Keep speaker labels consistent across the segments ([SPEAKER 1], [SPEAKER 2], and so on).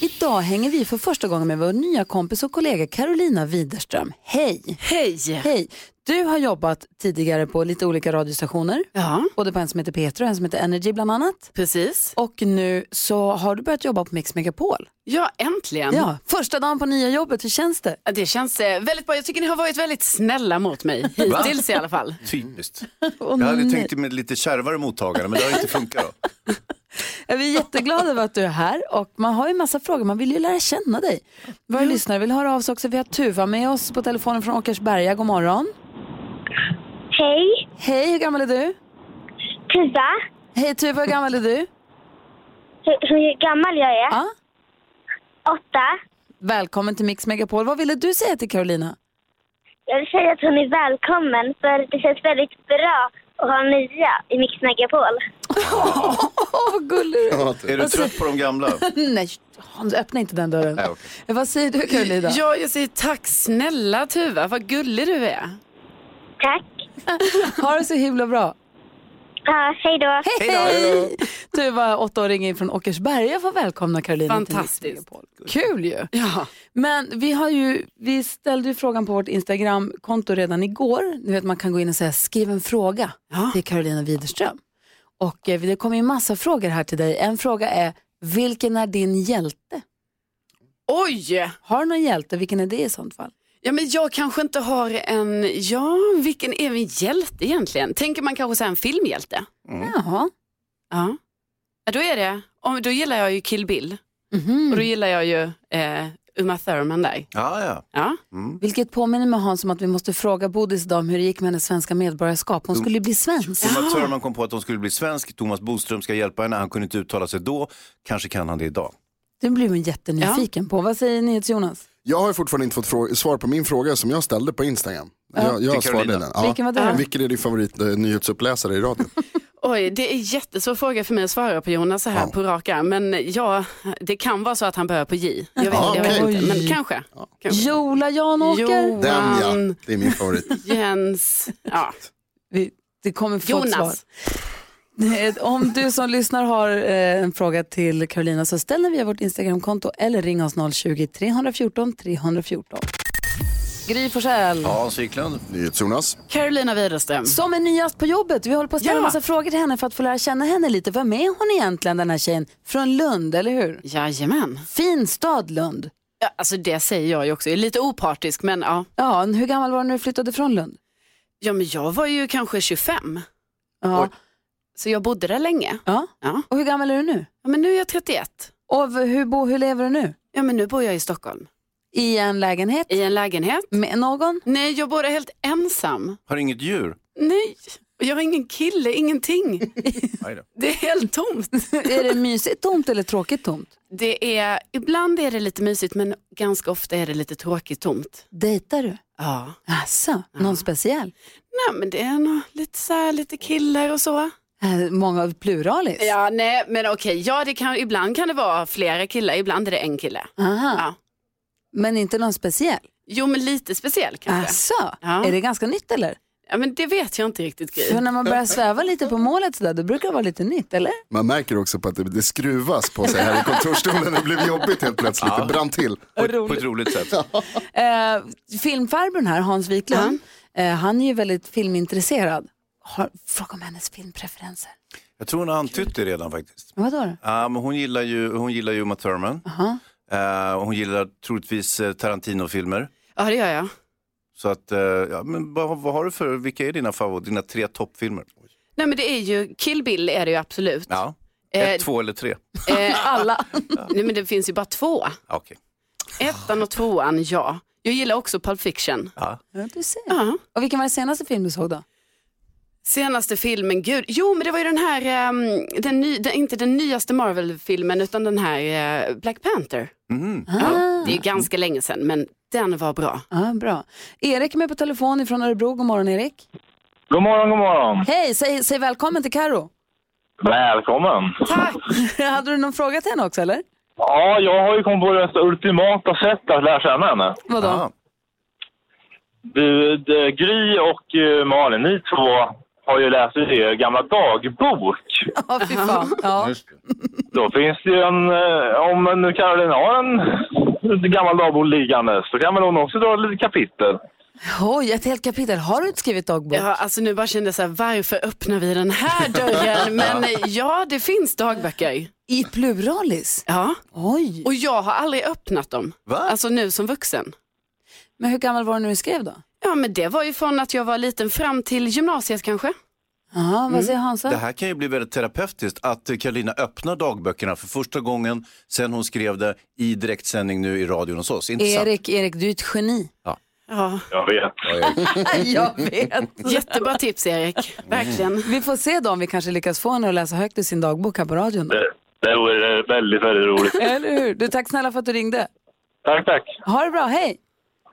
[SPEAKER 1] Idag hänger vi för första gången med vår nya kompis och kollega Carolina Widerström. Hej!
[SPEAKER 2] Hej!
[SPEAKER 1] Hej! Du har jobbat tidigare på lite olika radiostationer.
[SPEAKER 2] Ja,
[SPEAKER 1] Både på en som heter Petra och en som heter Energy bland annat.
[SPEAKER 2] precis.
[SPEAKER 1] Och nu så har du börjat jobba på Mix Megapol.
[SPEAKER 2] Ja, äntligen.
[SPEAKER 1] Ja, första dagen på nya jobbet, hur känns det?
[SPEAKER 2] Det känns eh, väldigt bra. Jag tycker ni har varit väldigt snälla mot mig hittills i alla fall.
[SPEAKER 3] Typiskt. jag hade tänkt mig lite kärvare mottagande men det har inte funkat. Då.
[SPEAKER 1] Ja, Vi är jätteglada över att du är här och man har ju massa frågor, man vill ju lära känna dig. Våra lyssnare vill höra av sig också. Vi har Tuva med oss på telefonen från Åkersberga, god morgon.
[SPEAKER 4] Hej,
[SPEAKER 1] Hej, hur gammal är du?
[SPEAKER 4] Tuva.
[SPEAKER 1] Hej Tuva, hur gammal är du?
[SPEAKER 4] Hur, hur gammal jag är?
[SPEAKER 1] Ja.
[SPEAKER 4] Åtta.
[SPEAKER 1] Välkommen till Mix Megapol. Vad ville du säga till Carolina?
[SPEAKER 4] Jag vill säga att hon är välkommen för det känns väldigt bra att ha nya i Mix Megapol.
[SPEAKER 1] Åh, vad gullig du är.
[SPEAKER 3] Är du trött på de gamla?
[SPEAKER 1] Nej, Hans, öppna inte den dörren.
[SPEAKER 3] Nej, okej.
[SPEAKER 1] Vad säger du Carolina?
[SPEAKER 2] Ja, jag säger tack snälla Tuva, vad gullig du är.
[SPEAKER 4] Tack.
[SPEAKER 1] Ha det så himla bra.
[SPEAKER 4] Ja, hej då.
[SPEAKER 1] Hej! Tuva, åttaåringen från Åkersberga, får välkomna Carolina till Mix
[SPEAKER 2] Fantastiskt.
[SPEAKER 1] Megapol. Kul ju!
[SPEAKER 2] Ja,
[SPEAKER 1] Men vi, har ju, vi ställde ju frågan på vårt Instagram-konto redan igår. Ni vet man kan gå in och säga skriv en fråga
[SPEAKER 2] Ja.
[SPEAKER 1] till Carolina Widerström. Och eh, det kommer ju massa frågor här till dig. En fråga är, vilken är din hjälte?
[SPEAKER 2] oj!
[SPEAKER 1] Har du någon hjälte? Vilken är det i sånt fall?
[SPEAKER 2] Ja, men jag kanske inte har en, ja, vilken är min hjälte egentligen? Tänker man kanske säga en filmhjälte?
[SPEAKER 5] Mm.
[SPEAKER 1] Jaha.
[SPEAKER 2] Ja. ja då är det, om, då gillar jag ju Kill Bill och
[SPEAKER 1] Mhm.
[SPEAKER 2] då gillar jag ju eh, Uma Thurman där.
[SPEAKER 3] Ja, ja.
[SPEAKER 2] Ja.
[SPEAKER 1] Vilket påminner mig Hans om att vi måste fråga Bodis idag om hur det gick med hennes svenska medborgarskap.
[SPEAKER 5] Mm.
[SPEAKER 1] Hon skulle ju bli svensk.
[SPEAKER 3] Thomas Thurman kom på att hon skulle bli svensk. Thomas Boström ska hjälpa henne. Han kunde inte uttala sig då. Kanske kan han det idag.
[SPEAKER 1] Det blir man jättenyfiken på. Vad säger NyhetsJonas?
[SPEAKER 5] Jag har ju fortfarande inte fått frå- svar på min fråga som jag ställde på Instagram. Jag,
[SPEAKER 3] Till Carolina.
[SPEAKER 5] jag svarade den. Ja.
[SPEAKER 1] Vilken var det?
[SPEAKER 5] Vilken är din favorit eh, nyhetsuppläsare i radio?
[SPEAKER 2] Oj, det är jättesvår fråga för mig att svara på Jonas så här på rak arm. Men ja, det kan vara så att han börjar på J. Jag vet,
[SPEAKER 5] Ja,
[SPEAKER 2] jag vet
[SPEAKER 5] okej.
[SPEAKER 2] inte, men kanske. kanske.
[SPEAKER 1] Jola Janåker?
[SPEAKER 2] Johan,
[SPEAKER 5] Den ja, det är min favorit.
[SPEAKER 2] Jens, ja.
[SPEAKER 1] Vi, det kommer få ett svar.
[SPEAKER 2] Jonas.
[SPEAKER 1] Nej, Eh, Om du som lyssnar har eh, en fråga till Carolina så ställ den via vårt Instagramkonto eller ring oss 020-314 314. Gry Forssell,
[SPEAKER 3] Hans Wiklund.
[SPEAKER 5] NyhetsJonas.
[SPEAKER 2] Carolina Widerström.
[SPEAKER 1] som är nyast på jobbet. Vi håller på att ställa
[SPEAKER 2] Ja.
[SPEAKER 1] massa frågor till henne för att få lära känna henne lite. Vem är hon egentligen den här tjejen? Från Lund, eller hur?
[SPEAKER 2] Jajamän.
[SPEAKER 1] Fin stad Lund.
[SPEAKER 2] Ja, alltså det säger jag ju också. Jag är lite opartisk, men ja.
[SPEAKER 1] Ja, hur gammal var du när du flyttade från Lund?
[SPEAKER 2] Ja, men jag var ju kanske 25,
[SPEAKER 1] Ja.
[SPEAKER 2] så jag bodde där länge.
[SPEAKER 1] ja.
[SPEAKER 2] Ja.
[SPEAKER 1] Och hur gammal är du nu?
[SPEAKER 2] ja men nu är jag 31.
[SPEAKER 1] Och v- hur, bo, hur lever du nu?
[SPEAKER 2] Ja, men nu bor jag i Stockholm.
[SPEAKER 1] I en lägenhet?
[SPEAKER 2] I en lägenhet.
[SPEAKER 1] Med någon?
[SPEAKER 2] Nej, jag bor där helt ensam.
[SPEAKER 3] Har inget djur?
[SPEAKER 2] Nej, och jag har ingen kille, ingenting.
[SPEAKER 3] Nej då.
[SPEAKER 2] Det är helt tomt.
[SPEAKER 1] är det mysigt tomt eller tråkigt tomt?
[SPEAKER 2] Det är, ibland är det lite mysigt men ganska ofta är det lite tråkigt tomt.
[SPEAKER 1] Dejtar du?
[SPEAKER 2] Ja.
[SPEAKER 1] Alltså, någon speciell?
[SPEAKER 2] Nej men det är nog lite så här, lite killar och så.
[SPEAKER 1] Eh, Många av pluralis?
[SPEAKER 2] Ja nej men okej, ja det kan, ibland kan det vara flera killar, ibland är det en kille.
[SPEAKER 1] Aha.
[SPEAKER 2] Ja.
[SPEAKER 1] Men inte någon speciell?
[SPEAKER 2] Jo men lite speciell kanske.
[SPEAKER 1] Alltså,
[SPEAKER 2] Ja.
[SPEAKER 1] är det ganska nytt eller?
[SPEAKER 2] Ja men det vet jag inte riktigt Gry.
[SPEAKER 1] För när man börjar sväva lite på målet sådär, då brukar det vara lite nytt, eller?
[SPEAKER 5] Man märker också på att det, det skruvas på sig här i kontorsstolen. Det blev jobbigt helt plötsligt. Det brann till.
[SPEAKER 3] På, ett- på ett roligt sätt.
[SPEAKER 1] Eh, filmfarbrorn här, Hans Wiklund, eh, han är ju väldigt filmintresserad. Har, fråga om hennes filmpreferenser.
[SPEAKER 3] Jag tror hon har antytt det redan faktiskt.
[SPEAKER 1] Vad då?
[SPEAKER 3] Ja, men hon gillar ju, hon gillar ju Uma Thurman. Eh, och hon gillar troligtvis eh, Tarantino-filmer.
[SPEAKER 2] Ja det gör jag.
[SPEAKER 3] Så att, eh, ja, men vad, vad har du för, vilka är dina favorit, dina tre toppfilmer?
[SPEAKER 2] Nej men det är ju, Kill Bill är det ju absolut.
[SPEAKER 3] Ja.
[SPEAKER 2] Eh,
[SPEAKER 3] Ett, två eller tre?
[SPEAKER 2] Eh,
[SPEAKER 1] Alla.
[SPEAKER 2] nej men det finns ju bara två.
[SPEAKER 3] Ja, Okej.
[SPEAKER 2] Ettan och tvåan, ja. Jag gillar också Pulp Fiction.
[SPEAKER 3] Ja.
[SPEAKER 1] Ja, du ser.
[SPEAKER 2] Ja.
[SPEAKER 1] Och vilken var den senaste film du såg då?
[SPEAKER 2] Senaste filmen, gud. Jo, men det var ju den här, ehm, den ny, den, inte den nyaste Marvel-filmen utan den här eh, Black Panther. Ja, det är ju ganska länge sedan, men den var bra.
[SPEAKER 1] Ja, bra. Erik är med på telefon ifrån Örebro. God morgon Erik.
[SPEAKER 6] God morgon, god morgon.
[SPEAKER 1] Hej, säg, säg välkommen till Karo.
[SPEAKER 6] Välkommen.
[SPEAKER 2] Tack!
[SPEAKER 1] Hade du någon fråga till henne också eller?
[SPEAKER 6] Ja, jag har ju kommit på det mest ultimata sättet att lära känna henne.
[SPEAKER 1] Vadå?
[SPEAKER 3] Ja.
[SPEAKER 6] Du, d- Gry och eh, Malin, ni två har ju läst i er gamla dagbok.
[SPEAKER 1] Ja, fy fan. Ja.
[SPEAKER 6] Då finns det ju en, eh, om nu Caroline har en gammal dagbok liggandes, så kan väl hon också dra lite kapitel.
[SPEAKER 1] Oj, ett helt kapitel. Har du inte skrivit dagbok?
[SPEAKER 2] Ja, alltså nu bara kände jag så här, varför öppnar vi den här dörren? Men eh, ja, det finns dagböcker.
[SPEAKER 1] I pluralis?
[SPEAKER 2] Ja,
[SPEAKER 1] Oj.
[SPEAKER 2] och jag har aldrig öppnat dem.
[SPEAKER 3] Va?
[SPEAKER 2] Alltså nu som vuxen.
[SPEAKER 1] Men hur gammal var du när du skrev då?
[SPEAKER 2] Ja, men det var ju från att jag var liten fram till gymnasiet kanske.
[SPEAKER 1] Aha, vad säger Hansa?
[SPEAKER 3] Det här kan ju bli väldigt terapeutiskt att eh, Carolina öppnar dagböckerna för första gången sen hon skrev det i direktsändning nu i radion hos oss. Intressant.
[SPEAKER 1] Erik, Erik, du är ett geni.
[SPEAKER 2] Ja,
[SPEAKER 6] Jag vet.
[SPEAKER 1] Jag vet.
[SPEAKER 2] jättebra tips Erik, verkligen.
[SPEAKER 1] Vi får se då om vi kanske lyckas få henne att läsa högt ur sin dagbok här på radion. Då.
[SPEAKER 6] Det, det vore väldigt, väldigt roligt.
[SPEAKER 1] Eller hur? Du, tack snälla för att du ringde.
[SPEAKER 6] Tack, tack.
[SPEAKER 1] Ha det bra, hej.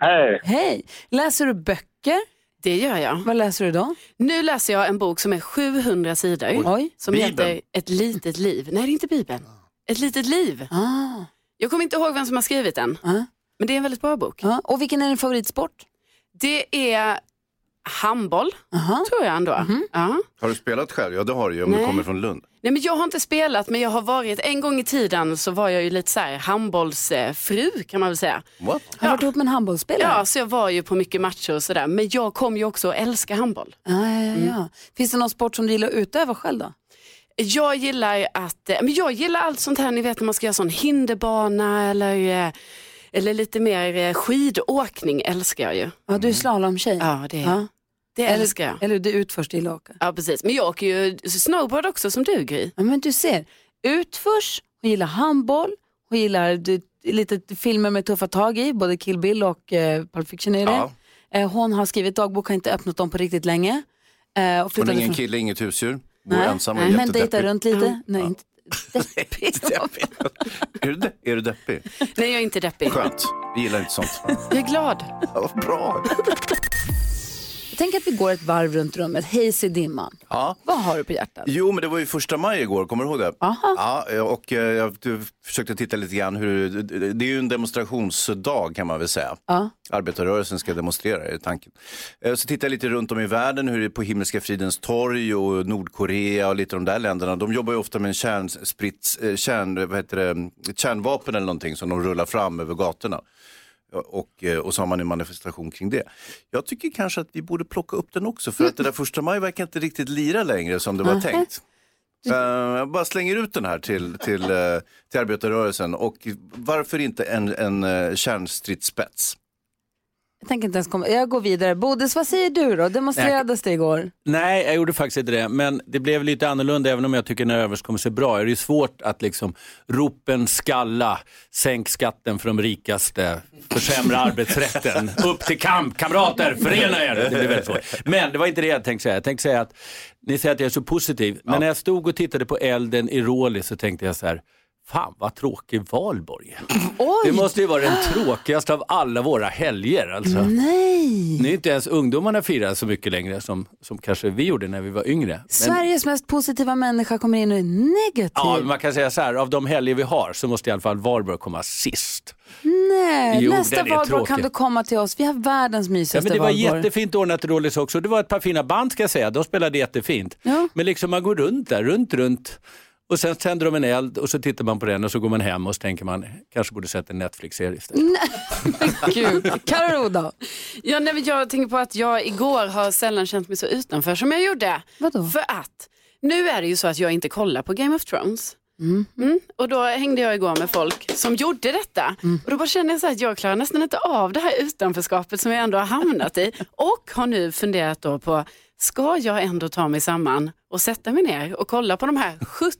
[SPEAKER 6] Hej.
[SPEAKER 1] Hej. Läser du böcker?
[SPEAKER 2] Det gör jag.
[SPEAKER 1] Vad läser du då?
[SPEAKER 2] Nu läser jag en bok som är 700 sidor.
[SPEAKER 1] Oj.
[SPEAKER 2] Som
[SPEAKER 3] Bibeln.
[SPEAKER 2] heter Ett litet liv. Nej, det är inte Bibeln. Ett litet liv.
[SPEAKER 1] Ah.
[SPEAKER 2] Jag kommer inte ihåg vem som har skrivit den.
[SPEAKER 1] Ah.
[SPEAKER 2] Men det är en väldigt bra bok.
[SPEAKER 1] Ja. Och vilken är din favoritsport?
[SPEAKER 2] Det är handboll,
[SPEAKER 1] Aha. Mhm.
[SPEAKER 2] tror jag ändå. Ja.
[SPEAKER 3] Har du spelat själv? Ja, det har du ju om du
[SPEAKER 2] Nej.
[SPEAKER 3] kommer från Lund.
[SPEAKER 2] Nej, men jag har inte spelat, men jag har varit, en gång i tiden så var jag ju lite så här handbollsfru kan man väl säga.
[SPEAKER 3] What?
[SPEAKER 1] Har du varit ihop med en handbollsspelare?
[SPEAKER 2] Ja, så jag var ju på mycket matcher och sådär. Men jag kom ju också att älska handboll.
[SPEAKER 1] Ja, ja, ja, ja. Finns det någon sport som du gillar att utöva själv då?
[SPEAKER 2] Jag gillar att, eh, men jag gillar allt sånt här, ni vet när man ska göra sån hinderbana eller, eh, eller lite mer eh, skidåkning älskar jag ju.
[SPEAKER 1] Ja, du är slalomtjej.
[SPEAKER 2] Ja, det,
[SPEAKER 1] Ja.
[SPEAKER 2] det älskar
[SPEAKER 1] Eller,
[SPEAKER 2] jag.
[SPEAKER 1] eller du utförs, det gillar att åka.
[SPEAKER 2] Ja, precis. Men jag åker ju snowboard också som du Gry.
[SPEAKER 1] Ja, men du ser. Utförs, hon gillar handboll, hon gillar du, lite filmer med tuffa tag i, både Kill Bill och eh, Pulp Fiction är det.
[SPEAKER 3] Ja.
[SPEAKER 1] Eh, hon har skrivit dagbok, har inte öppnat dem på riktigt länge. Eh, och
[SPEAKER 3] Hon
[SPEAKER 1] flyttade
[SPEAKER 3] är ingen
[SPEAKER 1] från-
[SPEAKER 3] kille, inget husdjur, bor
[SPEAKER 1] Nej,
[SPEAKER 3] ensam och
[SPEAKER 1] nej,
[SPEAKER 3] är
[SPEAKER 1] men dejtar
[SPEAKER 3] jättedeppig.
[SPEAKER 1] runt lite. Nej, inte deppig.
[SPEAKER 3] Är du, de- är du deppig?
[SPEAKER 2] Nej, jag är inte deppig.
[SPEAKER 3] Skönt, vi gillar inte sånt.
[SPEAKER 2] Jag är glad.
[SPEAKER 3] Ja, vad bra.
[SPEAKER 1] Tänk att vi går ett varv runt rummet. Hej, se dimman.
[SPEAKER 3] Ja.
[SPEAKER 1] Vad har du på hjärtat?
[SPEAKER 3] Jo, men det var ju första maj igår, kommer du ihåg det? Ja, och eh, jag du, försökte titta lite grann hur, det är ju en demonstrationsdag kan man väl säga.
[SPEAKER 1] Ja.
[SPEAKER 3] Arbetarrörelsen ska demonstrera, är tanken. Eh, Så tittar jag lite runt om i världen, hur det är på Himmelska fridens torg och Nordkorea och lite de där länderna. De jobbar ju ofta med en kärnsprits, eh, kärn, vad heter det, ett kärnvapen eller någonting som de rullar fram över gatorna. Och, eh, och så har man en manifestation kring det. Jag tycker kanske att vi borde plocka upp den också för att det där första maj verkar inte riktigt lira längre som det var tänkt. Eh, Jag bara slänger ut den här till, till, eh, till arbetarrörelsen och varför inte en, en eh, kärnstridsspets?
[SPEAKER 1] Jag tänker inte ens komma. Jag går vidare. Bodis, vad säger du då? Demonstrerades det igår?
[SPEAKER 7] Nej, jag gjorde faktiskt inte det. Men det blev lite annorlunda även om jag tycker den här överenskommelsen är bra. Det är ju svårt att liksom ropen skalla, sänk skatten för de rikaste, försämra arbetsrätten, upp till kamp, kamrater, förena er. Det blir väldigt svårt. Men det var inte det jag tänkte säga. Jag tänkte säga att ni säger att jag är så positiv. Men när jag stod och tittade på elden i Råli så tänkte jag så här, fan vad tråkig valborg är." Det måste ju vara den tråkigaste av alla våra helger. Alltså.
[SPEAKER 1] Nej.
[SPEAKER 7] Nu är inte ens ungdomarna firar så mycket längre som, som kanske vi gjorde när vi var yngre. Men,
[SPEAKER 1] Sveriges mest positiva människa kommer in och är negativ.
[SPEAKER 7] ja, man kan säga så här, av de helger vi har så måste i alla fall Valborg komma sist.
[SPEAKER 1] Nej,
[SPEAKER 7] Jo,
[SPEAKER 1] Eh, nästa
[SPEAKER 7] den är
[SPEAKER 1] valborg kan
[SPEAKER 7] tråkig.
[SPEAKER 1] du komma till oss. Vi har världens
[SPEAKER 7] Ja,
[SPEAKER 1] mysigaste
[SPEAKER 7] men det var
[SPEAKER 1] valborg.
[SPEAKER 7] jättefint ordnat i Rålis också. Det var ett par fina band ska jag säga, de spelade jättefint.
[SPEAKER 1] Ja.
[SPEAKER 7] Men liksom man går runt där, runt, runt. Och sen tänder de en eld och så tittar man på den och så går man hem och så tänker man, kanske borde sett en Netflix-serie
[SPEAKER 1] Mm.
[SPEAKER 7] istället.
[SPEAKER 1] Kul. Karo då?
[SPEAKER 2] Ja, nej, men jag tänker på att jag igår har sällan känt mig så utanför som jag gjorde.
[SPEAKER 1] Vadå?
[SPEAKER 2] För att nu är det ju så att jag inte kollar på Game of Thrones. Mm. Och då hängde jag igår med folk som gjorde detta. Och då bara kände jag så här att jag klarar nästan inte av det här utanförskapet som jag ändå har hamnat i. Och har nu funderat då på, ska jag ändå ta mig samman och sätta mig ner och kolla på de här 70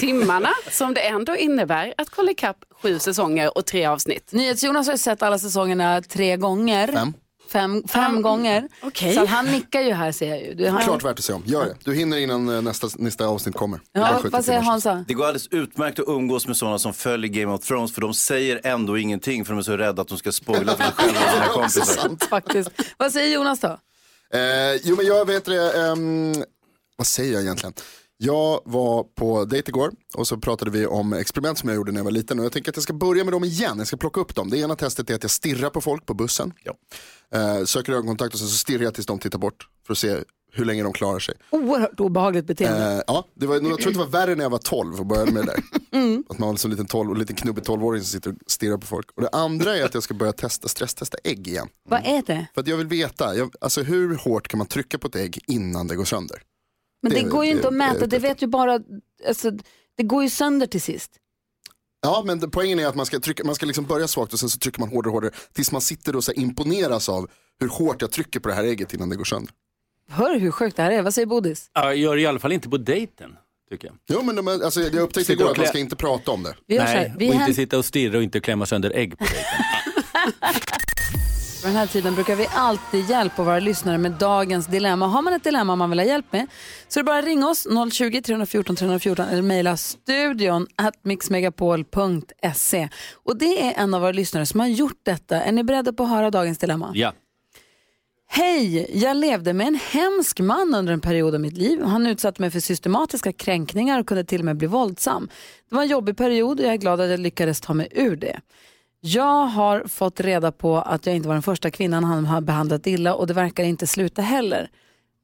[SPEAKER 2] timmarna som det ändå innebär att kolla ikapp sju säsonger och tre avsnitt.
[SPEAKER 1] NyhetsJonas har ju sett alla säsongerna tre gånger.
[SPEAKER 5] Fem.
[SPEAKER 1] fem, fem gånger.
[SPEAKER 5] okej.
[SPEAKER 1] Så han nickar ju här ser jag ju. Du, han,
[SPEAKER 5] Klart värt att se om. Gör det. Du hinner innan eh, nästa, nästa avsnitt kommer.
[SPEAKER 1] Ja,
[SPEAKER 5] Den
[SPEAKER 1] vad säger
[SPEAKER 5] 70-timmars.
[SPEAKER 1] Hansa?
[SPEAKER 3] Det går alldeles utmärkt att umgås med sådana som följer Game of Thrones för de säger ändå ingenting för de är så rädda att de ska spoila för sig själva och sina kompisar.
[SPEAKER 1] Faktiskt. Vad säger Jonas då?
[SPEAKER 5] Eh, jo men jag vet det, ehm, vad säger jag egentligen? Jag var på dejt igår och så pratade vi om experiment som jag gjorde när jag var liten och jag tänker att jag ska börja med dem igen, jag ska plocka upp dem. Det ena testet är att jag stirrar på folk på bussen, eh, söker ögonkontakt och sen så stirrar jag tills de tittar bort för att se hur länge de klarar sig.
[SPEAKER 1] Oerhört obehagligt beteende.
[SPEAKER 5] Eh, ja, det var, jag tror att det var värre när jag var 12 och började med det där. Att man var en sån liten, 12, och liten knubbig 12-åring som sitter och stirrar på folk. Och det andra är att jag ska börja testa, stresstesta ägg igen.
[SPEAKER 1] Vad är det?
[SPEAKER 5] För att jag vill veta, jag, alltså hur hårt kan man trycka på ett ägg innan det går sönder?
[SPEAKER 1] Men det,
[SPEAKER 5] Det-
[SPEAKER 1] går ju
[SPEAKER 5] det-
[SPEAKER 1] inte att
[SPEAKER 5] det-
[SPEAKER 1] mäta, det vet ju bara, alltså, det går ju sönder till sist.
[SPEAKER 5] Ja, men det- poängen är att man ska, trycka, man ska liksom börja svagt och sen så trycker man hårdare och hårdare tills man sitter och så här imponeras av hur hårt jag trycker på det här ägget innan det går sönder.
[SPEAKER 1] Hör hur sjukt det här är, vad säger Bodis?
[SPEAKER 7] Ja, gör det i alla fall inte på dejten, tycker jag.
[SPEAKER 5] Jo, men de, är- alltså, jag upptäckte
[SPEAKER 7] Sitter
[SPEAKER 5] igår
[SPEAKER 7] och
[SPEAKER 5] att man
[SPEAKER 7] klä-
[SPEAKER 5] ska inte prata om det.
[SPEAKER 1] Vi gör så här,
[SPEAKER 7] Nej,
[SPEAKER 1] vi
[SPEAKER 7] och
[SPEAKER 1] häm-
[SPEAKER 7] inte sitta och stirra och inte klämma sönder ägg på dejten.
[SPEAKER 1] På den här tiden brukar vi alltid hjälpa våra lyssnare med dagens dilemma. Har man ett dilemma man vill ha hjälp med så är det bara att ringa oss 020 314 314 eller mejla studion at mixmegapol.se. Och det är en av våra lyssnare som har gjort detta. Är ni beredda på att höra dagens dilemma?
[SPEAKER 7] Ja.
[SPEAKER 1] Hej, jag levde med en hemsk man under en period av mitt liv. Han utsatte mig för systematiska kränkningar och kunde till och med bli våldsam. Det var en jobbig period och jag är glad att jag lyckades ta mig ur det. Jag har fått reda på att jag inte var den första kvinnan han har behandlat illa och det verkar inte sluta heller.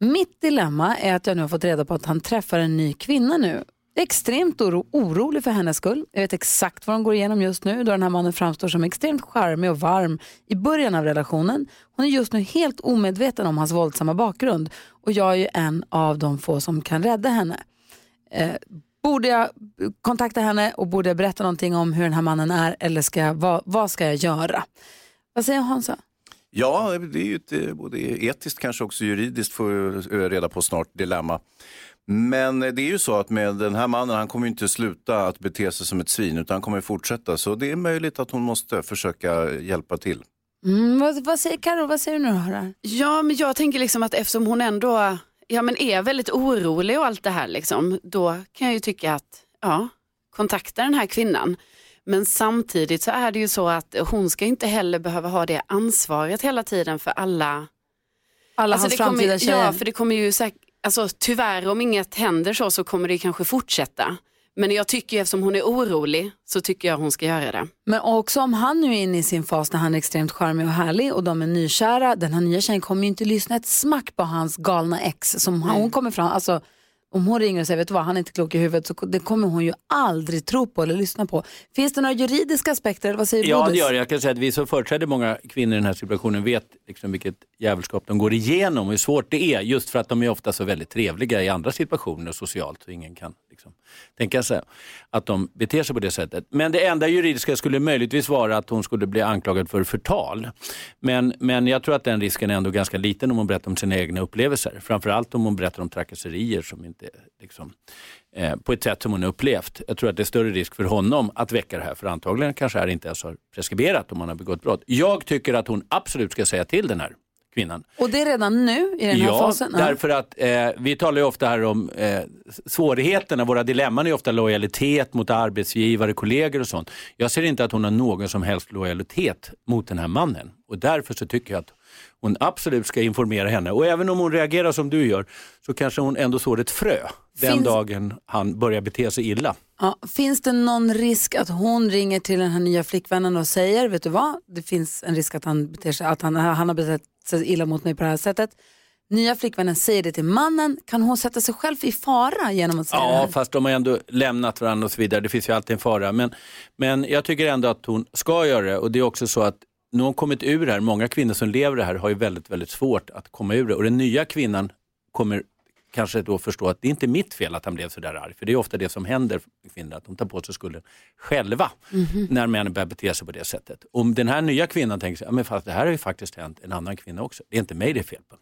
[SPEAKER 1] Mitt dilemma är att jag nu har fått reda på att han träffar en ny kvinna nu. Jag är extremt oro- orolig för hennes skull. Jag vet exakt vad de går igenom just nu då den här mannen framstår som extremt charmig och varm i början av relationen. Hon är just nu helt omedveten om hans våldsamma bakgrund och jag är ju en av de få som kan rädda henne. Eh, borde jag kontakta henne och borde jag berätta någonting om hur den här mannen är eller ska jag, vad, vad ska jag göra? Vad säger Hansa?
[SPEAKER 3] Ja, det är ju ett, eh, både etiskt kanske också juridiskt får jag reda på snart dilemma. Men eh, det är ju så att med den här mannen, han kommer ju inte sluta att bete sig som ett svin utan han kommer ju fortsätta. Så det är möjligt att hon måste försöka hjälpa till.
[SPEAKER 1] Mm, vad, vad säger Karo, vad säger du nu då? Här?
[SPEAKER 2] Ja, men jag tänker liksom att eftersom hon ändå ja, men är väldigt orolig och allt det här, liksom, då kan jag ju tycka att ja, kontakta den här kvinnan. Men samtidigt så är det ju så att hon ska inte heller behöva ha det ansvaret hela tiden för alla.
[SPEAKER 1] Alla hans
[SPEAKER 2] Alltså, det kommer-
[SPEAKER 1] framtida tjejer.
[SPEAKER 2] Ja, för det kommer ju säkert, alltså, tyvärr om inget händer så, så kommer det kanske fortsätta. Men jag tycker ju eftersom hon är orolig så tycker jag hon ska göra det.
[SPEAKER 1] Men också om han nu är inne i sin fas när han är extremt charmig och härlig och de är nykära, den här nya tjejen kommer ju inte lyssna ett smack på hans galna ex som han, hon kommer fram, alltså om hon ringer och säger vet du vad, han är inte klok i huvudet, så det kommer hon ju aldrig tro på eller lyssna på. Finns det några juridiska aspekter, eller vad säger
[SPEAKER 7] Ja, det
[SPEAKER 1] Bodis?
[SPEAKER 7] gör det. Jag kan säga att vi som företräder många kvinnor i den här situationen vet liksom vilket jävelskap de går igenom och hur svårt det är. Just för att de är ofta så väldigt trevliga i andra situationer socialt så ingen kan liksom tänka sig att de beter sig på det sättet. Men det enda juridiska skulle möjligtvis vara att hon skulle bli anklagad för förtal. Men, men jag tror att den risken är ändå ganska liten om hon berättar om sina egna upplevelser. Framförallt om hon berättar om trakasserier som inte liksom, eh, på ett sätt som hon har upplevt. Jag tror att det är större risk för honom att väcka det här, för antagligen kanske det här inte ens har preskriberat om han har begått brott. Jag tycker att hon absolut ska säga till den här kvinnan.
[SPEAKER 1] Och det är redan nu i den här
[SPEAKER 7] ja,
[SPEAKER 1] fasen? Ja.
[SPEAKER 7] därför att eh, vi talar ju ofta här om eh, svårigheterna, våra dilemman är ju ofta lojalitet mot arbetsgivare, kollegor och sånt. Jag ser inte att hon har någon som helst lojalitet mot den här mannen och därför så tycker jag att hon absolut ska informera henne och även om hon reagerar som du gör så kanske hon ändå sår ett frö den
[SPEAKER 1] Finns-
[SPEAKER 7] dagen han börjar bete sig illa.
[SPEAKER 1] Ja, finns det någon risk att hon ringer till den här nya flickvännen och säger, vet du vad, det finns en risk att han, beter sig, att han, han har betett sig illa mot mig på det här sättet. Nya flickvännen säger det till mannen, kan hon sätta sig själv i fara genom att säga det
[SPEAKER 7] Ja,
[SPEAKER 1] här?
[SPEAKER 7] fast de har ändå lämnat varandra och så vidare. Det finns ju alltid en fara. Men, men jag tycker ändå att hon ska göra det. Och det är också så att nu har hon kommit ur det här. Många kvinnor som lever det här har ju väldigt, väldigt svårt att komma ur det. Och den nya kvinnan kommer kanske då förstå att det är inte mitt fel att han blev så där arg. För det är ofta det som händer för kvinnor, att de tar på sig skulden själva
[SPEAKER 8] Mhm.
[SPEAKER 7] när männen börjar bete sig på det sättet. Om den här nya kvinnan tänker sig, ja, men fast det här har ju faktiskt hänt en annan kvinna också. Det är inte mig det är fel på.
[SPEAKER 1] Vad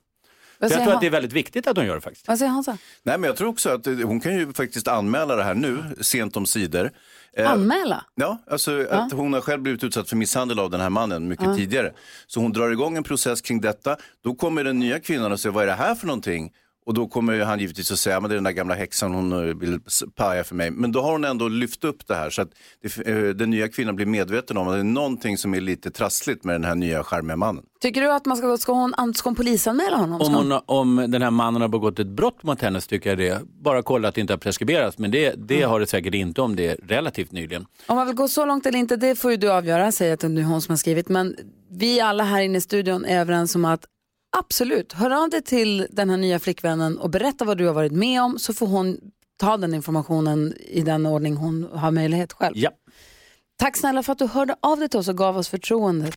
[SPEAKER 7] För
[SPEAKER 1] säger
[SPEAKER 7] jag tror
[SPEAKER 1] han?
[SPEAKER 7] att det är väldigt viktigt att de gör det faktiskt.
[SPEAKER 1] Vad säger han så?
[SPEAKER 3] Nej, men jag tror också att eh, hon kan ju faktiskt anmäla det här nu, sent om sidor. Eh,
[SPEAKER 1] Anmäla?
[SPEAKER 3] Ja, alltså att hon har själv blivit utsatt för misshandel av den här mannen mycket
[SPEAKER 1] Ja.
[SPEAKER 3] tidigare. Så hon drar igång en process kring detta. Då kommer den nya kvinnan och säger, vad är det här för någonting? Och då kommer ju han givetvis att säga, men det är den där gamla häxan hon eh, vill s- paja för mig. Men då har hon ändå lyft upp det här så att det, f- eh, den nya kvinnan blir medveten om att det är någonting som är lite trassligt med den här nya charmiga mannen.
[SPEAKER 1] Tycker du att man ska, ska, hon, an- ska hon polisanmäla honom? Ska
[SPEAKER 7] Om, hon, om den här mannen har begått ett brott mot henne så tycker jag det. Bara kolla att det inte har preskriberats, men det, det
[SPEAKER 1] Mm.
[SPEAKER 7] har det säkert inte om det är relativt nyligen.
[SPEAKER 1] Om man vill gå så långt eller inte, det får ju du avgöra, säger att det är hon som har skrivit. Men vi alla här inne i studion är överens om att absolut, hör av dig till den här nya flickvännen och berätta vad du har varit med om så får hon ta den informationen i den ordning hon har möjlighet själv.
[SPEAKER 7] Ja.
[SPEAKER 1] Tack snälla för att du hörde av dig till oss och gav oss förtroendet.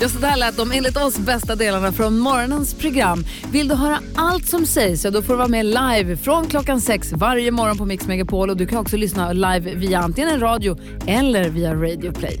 [SPEAKER 1] Ja, så där lät de enligt oss bästa delarna från morgonens program. Vill du höra allt som sägs, ja, då får du vara med live från klockan sex varje morgon på Mix Megapol. Och du kan också lyssna live via antingen en radio eller via Radio Play.